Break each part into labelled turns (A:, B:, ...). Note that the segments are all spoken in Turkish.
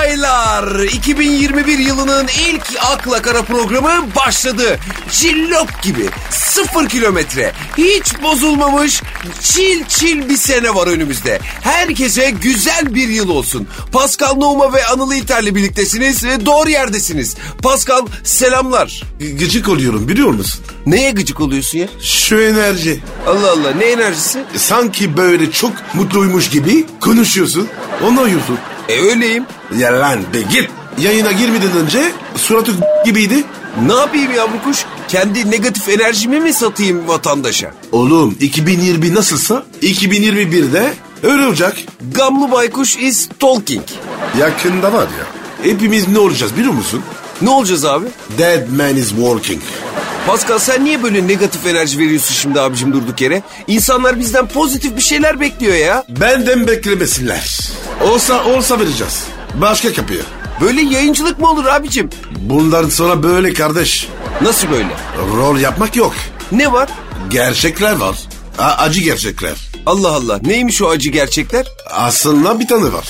A: merhabalar. 2021 yılının ilk Akla Kara programı başladı. Cillop gibi, sıfır kilometre, hiç bozulmamış, çil çil bir sene var önümüzde. Herkese güzel bir yıl olsun. Pascal Nouma ve Anıl İlter'le birliktesiniz ve doğru yerdesiniz. Pascal selamlar.
B: Gı- Gıcık oluyorum biliyor musun?
A: Neye gıcık oluyorsun ya?
B: Şu enerji. e,
A: Allah Allah ne enerjisi?
B: Sanki böyle çok mutluymuş gibi konuşuyorsun. Onu uyuyorsun.
A: E öyleyim.
B: Yalan be git. Yayına girmeden önce suratı gibiydi.
A: Ne yapayım yavru kuş? Kendi negatif enerjimi mi satayım vatandaşa?
B: Oğlum 2020 nasılsa 2021'de öyle olacak.
A: Gamlı baykuş is talking.
B: Yakında var ya. Hepimiz ne olacağız biliyor musun?
A: Ne olacağız abi?
B: Dead man is walking.
A: Pascal sen niye böyle negatif enerji veriyorsun şimdi abicim durduk yere? İnsanlar bizden pozitif bir şeyler bekliyor ya.
B: Benden beklemesinler. Olsa olsa vereceğiz. Başka kapıya.
A: Böyle yayıncılık mı olur abicim?
B: Bundan sonra böyle kardeş.
A: Nasıl böyle?
B: Rol yapmak yok.
A: Ne var?
B: Gerçekler var. A- acı gerçekler.
A: Allah Allah neymiş o acı gerçekler?
B: Aslında bir tane var.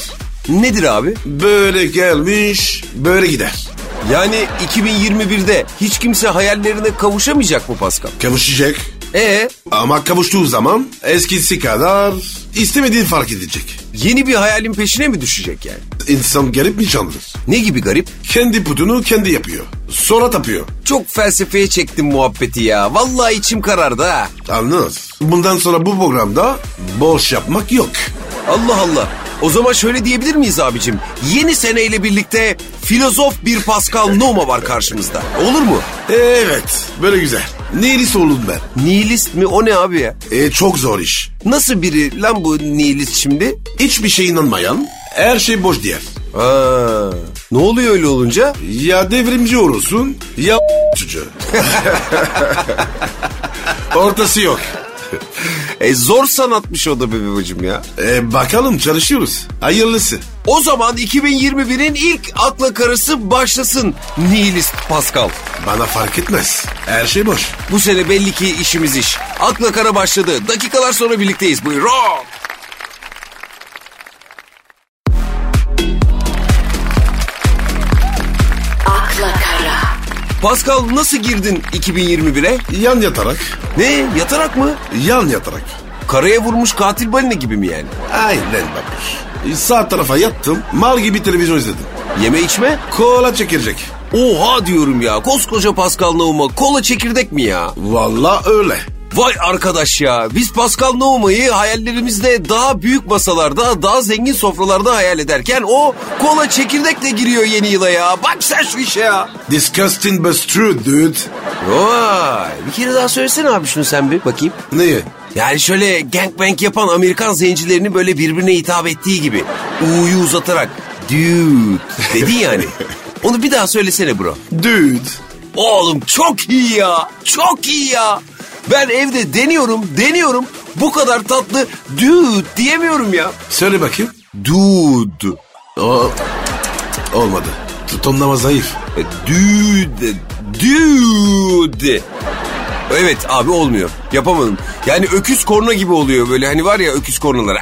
A: Nedir abi?
B: Böyle gelmiş, böyle gider.
A: Yani 2021'de hiç kimse hayallerine kavuşamayacak mı Pascal?
B: Kavuşacak.
A: Ee
B: Ama kavuştuğu zaman eskisi kadar istemediğini fark edecek.
A: yeni bir hayalin peşine mi düşecek yani?
B: İnsan garip mi canlıdır?
A: Ne gibi garip?
B: Kendi putunu kendi yapıyor. Sonra tapıyor.
A: Çok felsefeye çektim muhabbeti ya. Vallahi içim karardı ha.
B: Anladınız? Bundan sonra bu programda boş yapmak yok.
A: Allah Allah. O zaman şöyle diyebilir miyiz abicim? Yeni seneyle birlikte filozof bir Pascal Noma var karşımızda. Olur mu?
B: Evet, böyle güzel. Neyse olun ben.
A: Nihilist mi? O ne abi ya?
B: E, çok zor iş.
A: Nasıl biri lan bu nihilist şimdi?
B: Hiçbir şeye inanmayan her şey boş diyer.
A: Ha, ne oluyor öyle olunca?
B: Ya devrimci olursun ya çocuğu. Ortası yok.
A: E zor sanatmış o da be babacım ya.
B: E, bakalım çalışıyoruz. Hayırlısı.
A: O zaman 2021'in ilk akla karısı başlasın nihilist Pascal.
B: Bana fark etmez. Her şey boş.
A: Bu sene belli ki işimiz iş. Akla kara başladı. Dakikalar sonra birlikteyiz. Buyurun.
C: Akla Kara.
A: Pascal nasıl girdin 2021'e?
B: Yan yatarak,
A: Ne? Yatarak mı?
B: yan yatarak.
A: Karaya vurmuş katil balina gibi mi yani?
B: Aynen babuş. E, Sağ tarafa yattım, mal gibi televizyon izledim.
A: Yeme içme?
B: Kola çekilecek.
A: Oha diyorum ya. Koskoca Pascal Nohum'a kola çekirdek mi ya?
B: Vallahi öyle.
A: Vay arkadaş ya. Biz Pascal Nohum'u hayallerimizde daha büyük masalarda, daha zengin sofralarda hayal ederken o kola çekirdekle giriyor yeni yıla ya. Bak sen şu işe ya.
B: Disgusting but true dude.
A: Vay. Bir kere daha söylesene abi şunu sen bir bakayım.
B: Neyi?
A: Yani şöyle gangbang yapan Amerikan zencilerini böyle birbirine hitap ettiği gibi. U'yu uzatarak dude dedi yani. Onu bir daha söylesene bro.
B: Dude.
A: Oğlum çok iyi ya. Çok iyi ya. Ben evde deniyorum deniyorum. Bu kadar tatlı dude diyemiyorum ya.
B: Söyle bakayım.
A: Dude.
B: O olmadı. T- Tonlama zayıf.
A: E, Dude. Dude. Evet abi olmuyor. Yapamadım. Yani öküz korna gibi oluyor böyle. Hani var ya öküz kornaları.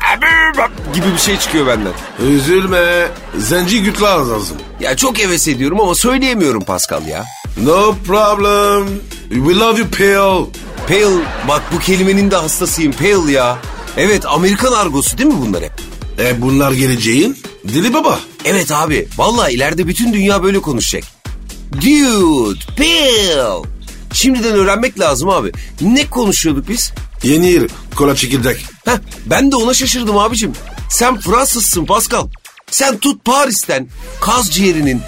A: Gibi bir şey çıkıyor benden.
B: Üzülme. Zenci gütler lazım.
A: Ya çok heves ediyorum ama söyleyemiyorum Pascal ya.
B: No problem. We love you pal.
A: Pale bak bu kelimenin de hastasıyım pale ya. Evet Amerikan argosu değil mi bunlar hep?
B: E bunlar geleceğin dili baba.
A: Evet abi vallahi ileride bütün dünya böyle konuşacak. Dude pale. Şimdiden öğrenmek lazım abi. Ne konuşuyorduk biz?
B: Yeni yıl kola çekirdek.
A: Heh, ben de ona şaşırdım abicim. Sen Fransızsın Pascal. Sen tut Paris'ten kaz ciğerinin,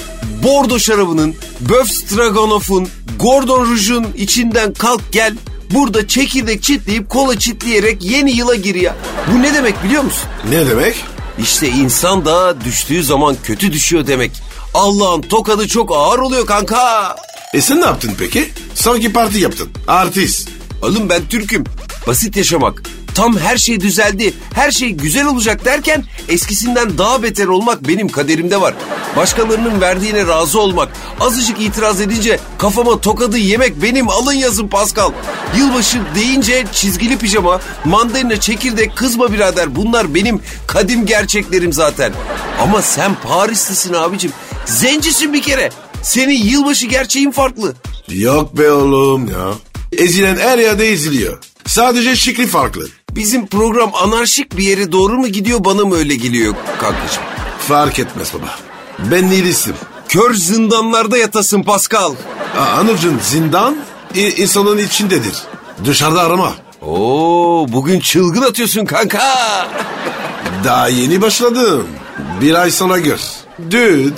A: bordo şarabının, böf stroganoff'un, gordon rujun içinden kalk gel. Burada çekirdek çitleyip kola çitleyerek yeni yıla gir ya. Bu ne demek biliyor musun?
B: Ne demek?
A: İşte insan da düştüğü zaman kötü düşüyor demek. Allah'ın tokadı çok ağır oluyor kanka.
B: E sen ne yaptın peki? Sanki parti yaptın. Artist.
A: Oğlum ben Türk'üm. Basit yaşamak. Tam her şey düzeldi, her şey güzel olacak derken eskisinden daha beter olmak benim kaderimde var. Başkalarının verdiğine razı olmak, azıcık itiraz edince kafama tokadı yemek benim alın yazın Pascal. Yılbaşı deyince çizgili pijama, mandalina çekirdek kızma birader bunlar benim kadim gerçeklerim zaten. Ama sen Parislisin abicim. Zencisin bir kere. Senin yılbaşı gerçeğin farklı.
B: Yok be oğlum ya. Ezilen her yerde eziliyor. Sadece şekli farklı.
A: Bizim program anarşik bir yere doğru mu gidiyor bana mı öyle geliyor kankacığım?
B: Fark etmez baba. Ben nihilistim.
A: Kör zindanlarda yatasın Pascal.
B: Aa, Anılcım zindan i- insanın içindedir. Dışarıda arama.
A: Oo bugün çılgın atıyorsun kanka.
B: Daha yeni başladım. Bir ay sonra gör. Dude.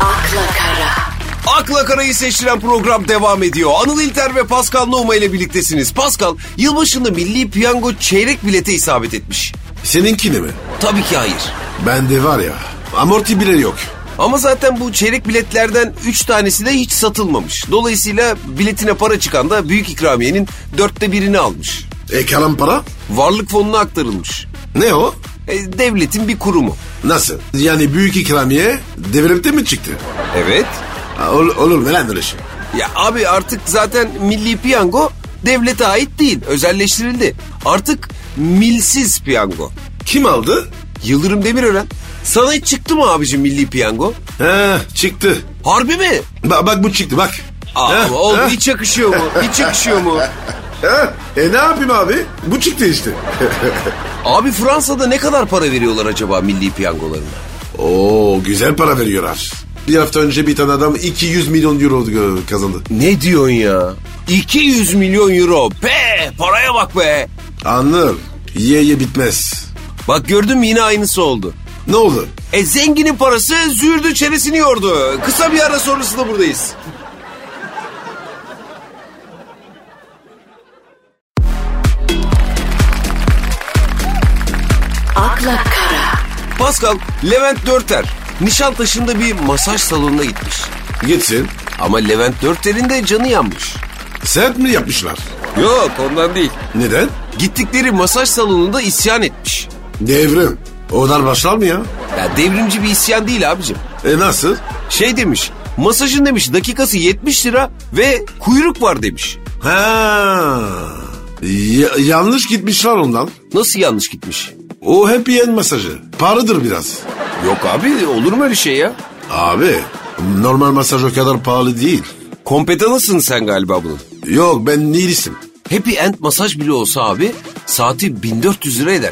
C: akla kara,
A: Akla karayı seçtiren program devam ediyor. Anıl İlter ve Pascal Nohma ile birliktesiniz. Pascal yılbaşında milli piyango çeyrek bilete isabet etmiş.
B: Seninkini mi?
A: Tabii ki hayır.
B: Bende var ya. Amorti bile yok.
A: Ama zaten bu çeyrek biletlerden 3 tanesi de hiç satılmamış. Dolayısıyla biletine para çıkan da büyük ikramiyenin dörtte birini almış.
B: E kalan para?
A: Varlık fonuna aktarılmış.
B: Ne o?
A: E, devletin bir kurumu.
B: Nasıl? Yani büyük ikramiye devrepte mi çıktı?
A: Evet.
B: Aa, ol- olur mu lan öyle şey?
A: Ya abi artık zaten milli piyango devlete ait değil. Özelleştirildi. Artık milsiz piyango.
B: Kim aldı?
A: Yıldırım Demirören. Sana hiç çıktı mı abicim milli piyango?
B: He çıktı.
A: Harbi mi?
B: Ba- bak bu çıktı bak.
A: Aa,
B: Heh,
A: ama oğlum
B: heh,
A: hiç yakışıyor mu? Hiç yakışıyor mu?
B: heh. E ne yapayım abi? Bu çıktı işte.
A: Abi Fransa'da ne kadar para veriyorlar acaba milli piyangolarına?
B: Oo güzel para veriyorlar. Bir hafta önce bir tane adam 200 milyon euro gö- kazandı.
A: Ne diyorsun ya? 200 milyon euro. Be paraya bak be.
B: Anlıyor. Ye ye bitmez.
A: Bak gördün mü yine aynısı oldu.
B: Ne oldu?
A: E zenginin parası zürdü çenesini yordu. Kısa bir ara sonrasında buradayız.
C: akla kara,
A: Pascal Levent Dörter Nişantaşı'nda bir masaj salonuna gitmiş.
B: Gitsin.
A: Ama Levent Dörter'in de canı yanmış.
B: Sert mi yapmışlar?
A: Yok ondan değil.
B: Neden?
A: Gittikleri masaj salonunda isyan etmiş.
B: Devrim. Onlar başlar mı ya?
A: Ya devrimci bir isyan değil abicim.
B: E nasıl?
A: Şey demiş, masajın demiş dakikası 70 lira ve kuyruk var demiş.
B: Ha. Ya- yanlış gitmişler ondan.
A: Nasıl yanlış gitmiş?
B: O happy end masajı. Pahalıdır biraz.
A: Yok abi olur mu öyle şey ya?
B: Abi normal masaj o kadar pahalı değil.
A: Kompetanısın sen galiba bunun.
B: Yok ben nihilistim.
A: Happy End masaj bile olsa abi saati 1400 lira eder.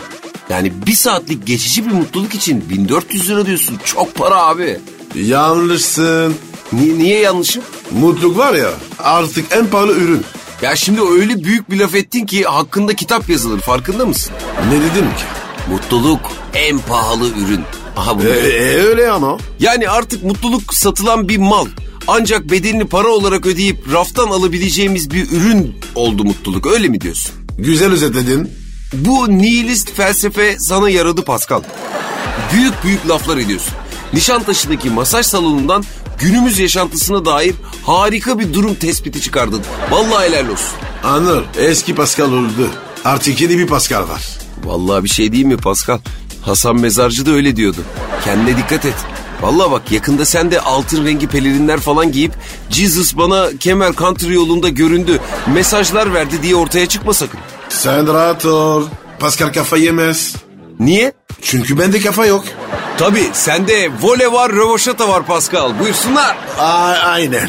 A: Yani bir saatlik geçici bir mutluluk için 1400 lira diyorsun. Çok para abi.
B: Yanlışsın.
A: Ni- niye yanlışım?
B: Mutluluk var ya artık en pahalı ürün.
A: Ya şimdi öyle büyük bir laf ettin ki hakkında kitap yazılır farkında mısın?
B: Ne dedim ki?
A: Mutluluk en pahalı ürün. Aha bu.
B: E, e, öyle ama.
A: Yani artık mutluluk satılan bir mal. Ancak bedelini para olarak ödeyip raftan alabileceğimiz bir ürün oldu mutluluk öyle mi diyorsun?
B: Güzel özetledin.
A: Bu nihilist felsefe sana yaradı Pascal. Büyük büyük laflar ediyorsun. Nişantaşı'ndaki masaj salonundan günümüz yaşantısına dair harika bir durum tespiti çıkardın. Vallahi helal olsun.
B: Anır eski Pascal oldu. Artık yeni bir Pascal var.
A: Vallahi bir şey değil mi Pascal? Hasan Mezarcı da öyle diyordu. Kendine dikkat et. Vallahi bak yakında sen de altın rengi pelerinler falan giyip Jesus bana Kemer Country yolunda göründü, mesajlar verdi diye ortaya çıkma sakın.
B: Sen rahat ol. Pascal kafa yemez.
A: Niye?
B: Çünkü bende kafa yok.
A: Tabii sende vole var, rövoşata var Pascal. Buyursunlar.
B: A- aynen.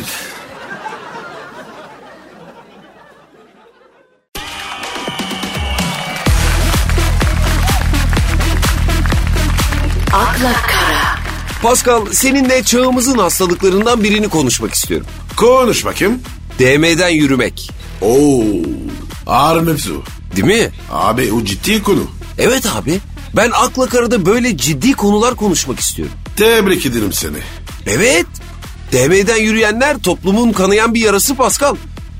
C: akla kara,
A: Pascal seninle çağımızın hastalıklarından birini konuşmak istiyorum.
B: Konuş bakayım.
A: DM'den yürümek.
B: Oo, ağır mevzu.
A: Değil mi?
B: Abi o ciddi konu.
A: Evet abi. Ben akla karada böyle ciddi konular konuşmak istiyorum.
B: Tebrik ederim seni.
A: Evet. DM'den yürüyenler toplumun kanayan bir yarası Pascal.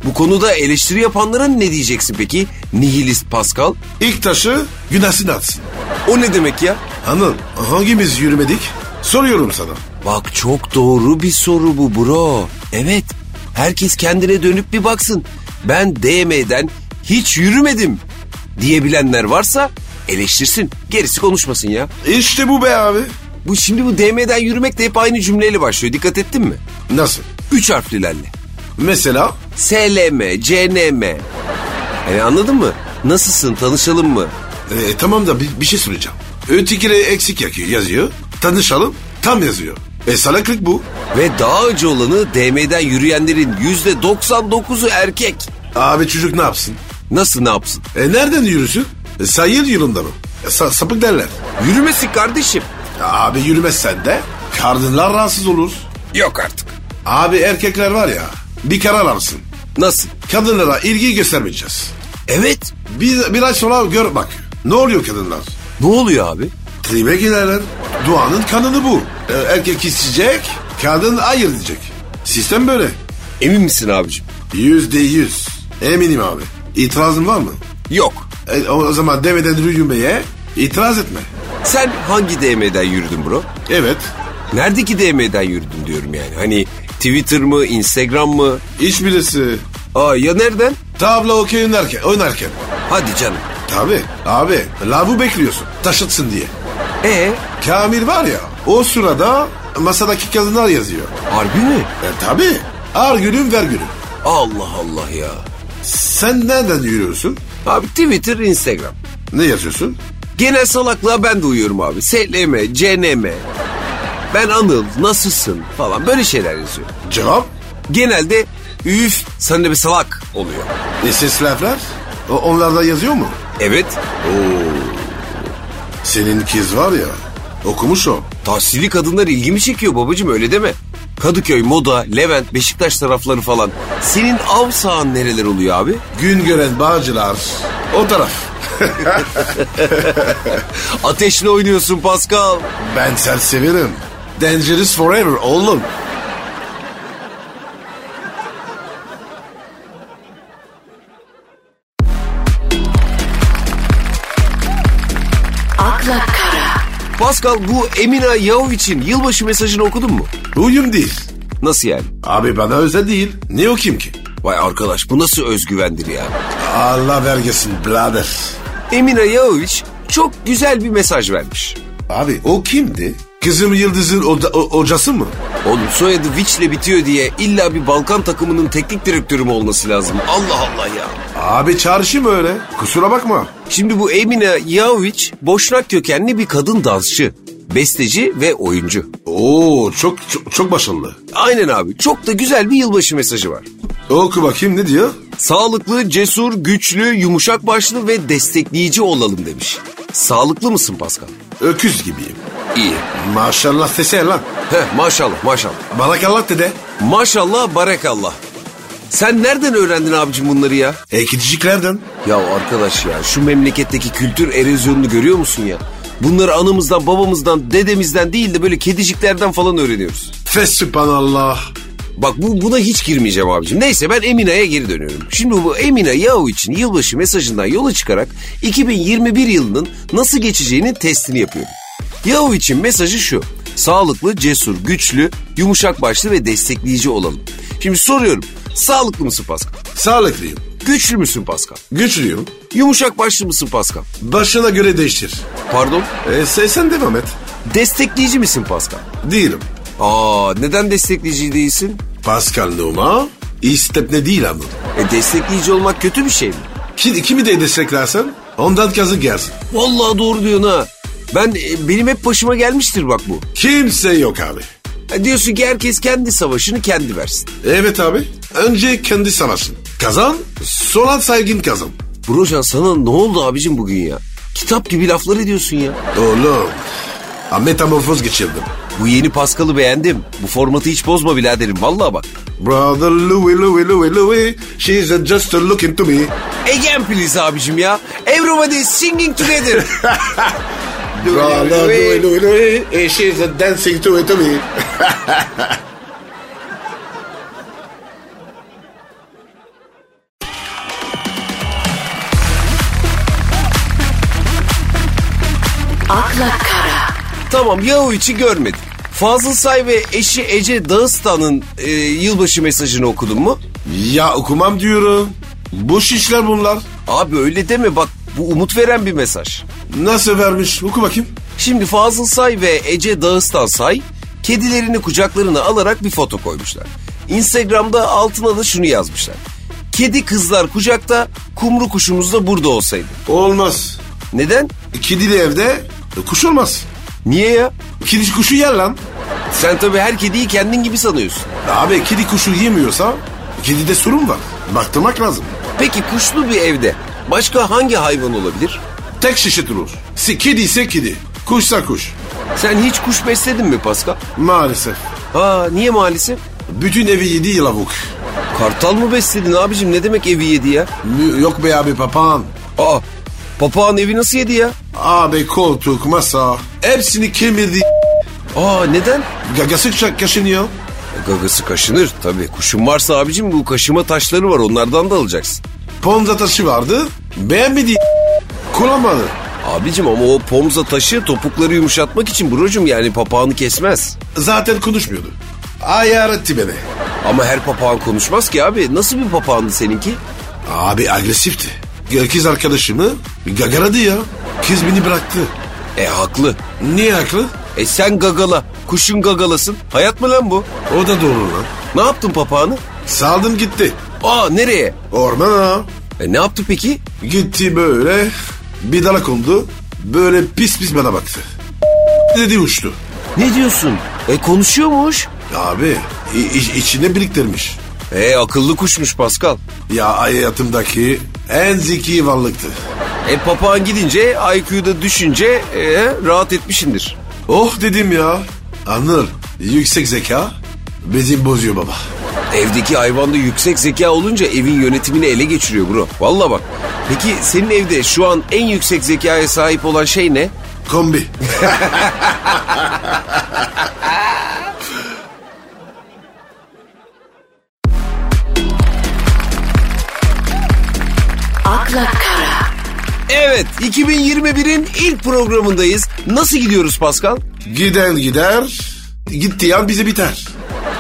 A: Bu konuda eleştiri yapanlara ne diyeceksin peki? Nihilist Pascal.
B: İlk taşı günahsın atsın.
A: O ne demek ya?
B: Hanım hangimiz yürümedik? Soruyorum sana.
A: Bak çok doğru bir soru bu bro. Evet. Herkes kendine dönüp bir baksın. Ben DM'den hiç yürümedim diyebilenler varsa eleştirsin. Gerisi konuşmasın ya.
B: İşte bu be abi.
A: Bu şimdi bu DM'den yürümek de hep aynı cümleyle başlıyor. Dikkat ettin mi?
B: Nasıl?
A: Üç harflilerle.
B: Mesela
A: SLM, CNM. Yani anladın mı? Nasılsın, tanışalım mı?
B: E, tamam da bir, bir şey söyleyeceğim. Ötekine eksik yakıyor, yazıyor. Tanışalım tam yazıyor. E salaklık bu.
A: Ve daha acı olanı DM'den yürüyenlerin %99'u erkek.
B: Abi çocuk ne yapsın?
A: Nasıl ne yapsın?
B: E nereden yürüsün? E, sayıl yılında mı? E, sa- sapık derler.
A: Yürümesin kardeşim.
B: Ya Abi yürümezsen de kadınlar rahatsız olur.
A: Yok artık.
B: Abi erkekler var ya bir karar alsın.
A: Nasıl?
B: Kadınlara ilgi göstermeyeceğiz.
A: Evet.
B: Bir, bir ay sonra gör bak ne oluyor kadınlar?
A: Ne oluyor abi?
B: Tribe girerler. Duanın kanını bu. E, erkek isteyecek, kadın hayır diyecek. Sistem böyle.
A: Emin misin abicim?
B: Yüzde yüz. Eminim abi. İtirazın var mı?
A: Yok.
B: E, o, o zaman demeden rüyümeye itiraz etme.
A: Sen hangi DM'den yürüdün bro?
B: Evet.
A: Neredeki DM'den yürüdün diyorum yani. Hani Twitter mı, Instagram mı?
B: Hiçbirisi
A: Aa ya nereden?
B: tabla okey oynarken, oynarken.
A: Hadi canım.
B: Tabi abi lavu bekliyorsun taşıtsın diye.
A: E
B: Kamil var ya o sırada masadaki kadınlar yazıyor.
A: harbi mi?
B: E tabi ar gülüm ver gülüm.
A: Allah Allah ya.
B: Sen nereden yürüyorsun?
A: Abi Twitter, Instagram.
B: Ne yazıyorsun?
A: Genel salaklığa ben de uyuyorum abi. SLM, CNM. Ben Anıl, nasılsın falan böyle şeyler yazıyor.
B: Cevap?
A: Genelde üf sen de bir salak oluyor.
B: E, sesli harfler? O, onlar da yazıyor mu?
A: Evet,
B: Senin kız var ya okumuş o.
A: tahsili kadınlar ilgimi çekiyor babacığım öyle deme. Kadıköy, Moda, Levent, Beşiktaş tarafları falan. Senin av sahan nereler oluyor abi?
B: Gün gören bağcılar o taraf.
A: Ateşle oynuyorsun Pascal.
B: Ben serseverim. Dangerous forever oğlum.
C: akla kara,
A: Pascal bu Emine Yahu için yılbaşı mesajını okudun mu?
B: Uyum değil.
A: Nasıl yani?
B: Abi bana özel değil. Ne okuyayım ki?
A: Vay arkadaş bu nasıl özgüvendir ya?
B: Allah vergesin birader.
A: Emine Yahoviç çok güzel bir mesaj vermiş.
B: Abi o kimdi? Kızım Yıldız'ın oda- o- hocası mı?
A: Oğlum soyadı Viç'le bitiyor diye illa bir Balkan takımının teknik direktörü mü olması lazım? Allah Allah ya.
B: Abi çağrışım öyle. Kusura bakma.
A: Şimdi bu Emine Yahoviç boşnak kökenli bir kadın dansçı, besteci ve oyuncu.
B: Oo çok çok, çok başarılı.
A: Aynen abi çok da güzel bir yılbaşı mesajı var.
B: Oku bakayım ne diyor?
A: Sağlıklı, cesur, güçlü, yumuşak başlı ve destekleyici olalım demiş. Sağlıklı mısın Pascal?
B: Öküz gibiyim.
A: İyi.
B: Maşallah sese lan.
A: Heh maşallah maşallah.
B: Barakallah dede.
A: Maşallah barekallah. Sen nereden öğrendin abicim bunları ya?
B: Ekiciklerden.
A: Ya arkadaş ya şu memleketteki kültür erozyonunu görüyor musun ya? Bunları anamızdan, babamızdan, dedemizden değil de böyle kediciklerden falan öğreniyoruz.
B: Fesübhanallah.
A: Bak bu buna hiç girmeyeceğim abicim. Neyse ben Emine'ye geri dönüyorum. Şimdi bu Emine Yahu için yılbaşı mesajından yola çıkarak 2021 yılının nasıl geçeceğinin testini yapıyorum. Yahu için mesajı şu. Sağlıklı, cesur, güçlü, yumuşak başlı ve destekleyici olalım. Şimdi soruyorum. Sağlıklı mısın Pascal?
B: Sağlıklıyım.
A: Güçlü müsün Pascal?
B: Güçlüyüm.
A: Yumuşak başlı mısın Pascal?
B: Başına göre değiştir.
A: Pardon?
B: E, sen, sen devam et.
A: Destekleyici misin Pascal?
B: Değilim.
A: Aa neden destekleyici değilsin?
B: Pascal Numa istepne değil ama.
A: E destekleyici olmak kötü bir şey mi?
B: Kim, kimi de desteklersen ondan kazık gelsin.
A: Vallahi doğru diyorsun ha. Ben e, benim hep başıma gelmiştir bak bu.
B: Kimse yok abi.
A: E, diyorsun ki herkes kendi savaşını kendi versin.
B: Evet abi. Önce kendi savaşın. Kazan, sonra saygın kazan.
A: Brocan sana ne oldu abicim bugün ya? Kitap gibi laflar ediyorsun ya.
B: Oğlum. ha, Metamorfoz geçirdim.
A: Bu yeni Paskal'ı beğendim. Bu formatı hiç bozma biraderim vallahi bak.
B: Brother Louis, Louis, Louis, Louis. She's a just a looking to me.
A: Again please abicim ya. Everybody singing together.
B: Brother Louis, Louis, Louis. eh, She's a dancing to it to me.
C: akla kara,
A: Tamam Yahoviç'i görmedim. Fazıl Say ve eşi Ece Dağıstan'ın e, yılbaşı mesajını okudun mu?
B: Ya okumam diyorum. Boş işler bunlar.
A: Abi öyle deme bak bu umut veren bir mesaj.
B: Nasıl vermiş? Oku bakayım.
A: Şimdi Fazıl Say ve Ece Dağıstan Say kedilerini kucaklarına alarak bir foto koymuşlar. Instagram'da altına da şunu yazmışlar. Kedi kızlar kucakta, kumru kuşumuz da burada olsaydı.
B: Olmaz.
A: Neden?
B: Kedili evde e, kuş olmaz.
A: Niye ya?
B: Kedi kuşu yer lan.
A: Sen tabii her kediyi kendin gibi sanıyorsun.
B: Abi kedi kuşu yemiyorsa kedide sorun var. Baktırmak lazım.
A: Peki kuşlu bir evde başka hangi hayvan olabilir?
B: Tek şişe durur. Si- Kedi ise kedi. Kuşsa kuş.
A: Sen hiç kuş besledin mi Pascal?
B: Maalesef.
A: Ha niye maalesef?
B: Bütün evi yedi yılavuk.
A: Kartal mı besledin abicim ne demek evi yedi ya?
B: Mü- Yok be abi papağan.
A: Aa papağan evi nasıl yedi ya?
B: Abi koltuk, masa. Hepsini kemirdi.
A: Aa neden? E,
B: Gagası ka- kaşınıyor.
A: Gagası kaşınır tabii. Kuşun varsa abicim bu kaşıma taşları var onlardan da alacaksın.
B: Ponza taşı vardı. Beğenmedi. Kullanmadı.
A: Abicim ama o pomza taşı topukları yumuşatmak için brocum yani papağanı kesmez.
B: Zaten konuşmuyordu. Ayar etti beni.
A: Ama her papağan konuşmaz ki abi. Nasıl bir papağandı seninki?
B: Abi agresifti. Kız arkadaşımı gagaradı ya. Kız beni bıraktı.
A: E haklı.
B: Niye haklı?
A: E sen gagala, kuşun gagalasın. Hayat mı lan bu?
B: O da doğru lan.
A: Ne yaptın papağanı?
B: Saldım gitti.
A: Aa nereye?
B: Ormana.
A: E ne yaptı peki?
B: Gitti böyle. Bir dala kondu. Böyle pis pis bana baktı. Dedi uçtu.
A: Ne diyorsun? E konuşuyormuş.
B: Abi i- i- içinde biriktirmiş.
A: E akıllı kuşmuş Pascal.
B: Ya hayatımdaki en zeki varlıktı.
A: E papağan gidince IQ'da düşünce e, rahat etmişindir.
B: Oh dedim ya. Anır. Yüksek zeka bizim bozuyor baba.
A: Evdeki hayvanda yüksek zeka olunca evin yönetimini ele geçiriyor bro. Valla bak. Peki senin evde şu an en yüksek zekaya sahip olan şey ne?
B: Kombi.
C: akla kara,
A: Evet 2021'in ilk programındayız. Nasıl gidiyoruz Pascal?
B: Giden gider. Gitti yan bize biter.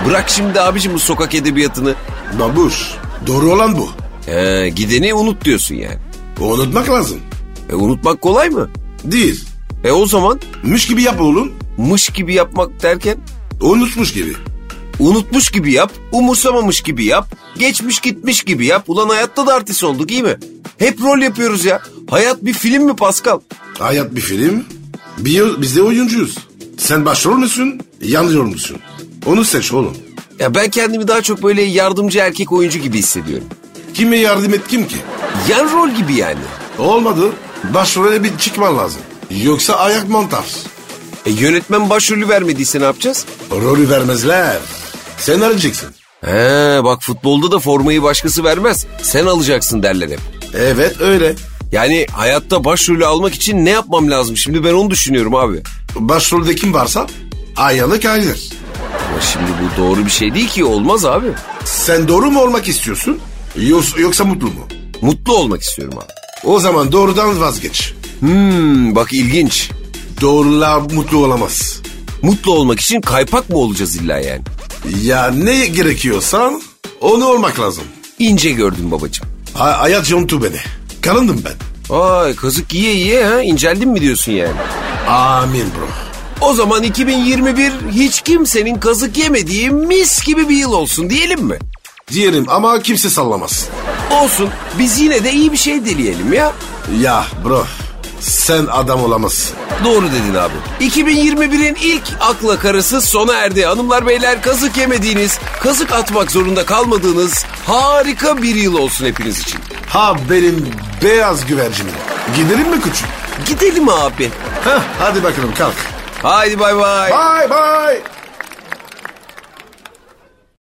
A: Bırak şimdi abicim bu sokak edebiyatını.
B: Babuş. Doğru olan bu.
A: He, gideni unut diyorsun yani.
B: Unutmak lazım.
A: E, unutmak kolay mı?
B: Değil.
A: E o zaman
B: Mış gibi yap oğlum.
A: mış gibi yapmak derken
B: Unutmuş gibi.
A: unutmuş gibi yap, umursamamış gibi yap, geçmiş gitmiş gibi yap. Ulan hayatta da artist olduk iyi mi? Hep rol yapıyoruz ya. Hayat bir film mi Pascal?
B: Hayat bir film. Bir- Biz de oyuncuyuz. Sen başrol müsün? Yan rol müsün? Onu seç oğlum.
A: Ya ben kendimi daha çok böyle yardımcı erkek oyuncu gibi hissediyorum.
B: Kime yardım et kim ki?
A: Yan rol gibi yani.
B: Olmadı. Başrole bir çıkman lazım. Yoksa ayak mantar.
A: E yönetmen başrolü vermediyse ne yapacağız?
B: Rolü vermezler. Sen arayacaksın.
A: He bak futbolda da formayı başkası vermez. Sen alacaksın derler hep.
B: Evet öyle.
A: Yani hayatta başrolü almak için ne yapmam lazım? Şimdi ben onu düşünüyorum abi.
B: Başrolde kim varsa ayağını kaydır.
A: Ama şimdi bu doğru bir şey değil ki olmaz abi.
B: Sen doğru mu olmak istiyorsun? Yoksa, yoksa mutlu mu?
A: Mutlu olmak istiyorum abi.
B: O zaman doğrudan vazgeç.
A: Hmm, bak ilginç.
B: Doğrular mutlu olamaz.
A: Mutlu olmak için kaypak mı olacağız illa yani?
B: Ya ne gerekiyorsan onu olmak lazım.
A: İnce gördüm babacığım.
B: Ha- hayat yontu beni. Kalındım ben.
A: Ay kazık yiye yiye ha inceldin mi diyorsun yani?
B: Amin bro.
A: O zaman 2021 hiç kimsenin kazık yemediği mis gibi bir yıl olsun diyelim mi?
B: Diyelim ama kimse sallamaz.
A: Olsun biz yine de iyi bir şey dileyelim ya.
B: Ya bro sen adam olamazsın.
A: Doğru dedin abi. 2021'in ilk akla karısı sona erdi. Hanımlar beyler kazık yemediğiniz, kazık atmak zorunda kalmadığınız harika bir yıl olsun hepiniz için.
B: Ha benim beyaz güvercinim. Gidelim mi küçük?
A: Gidelim abi.
B: Heh, hadi bakalım kalk.
A: Haydi bay bay.
B: Bye bye.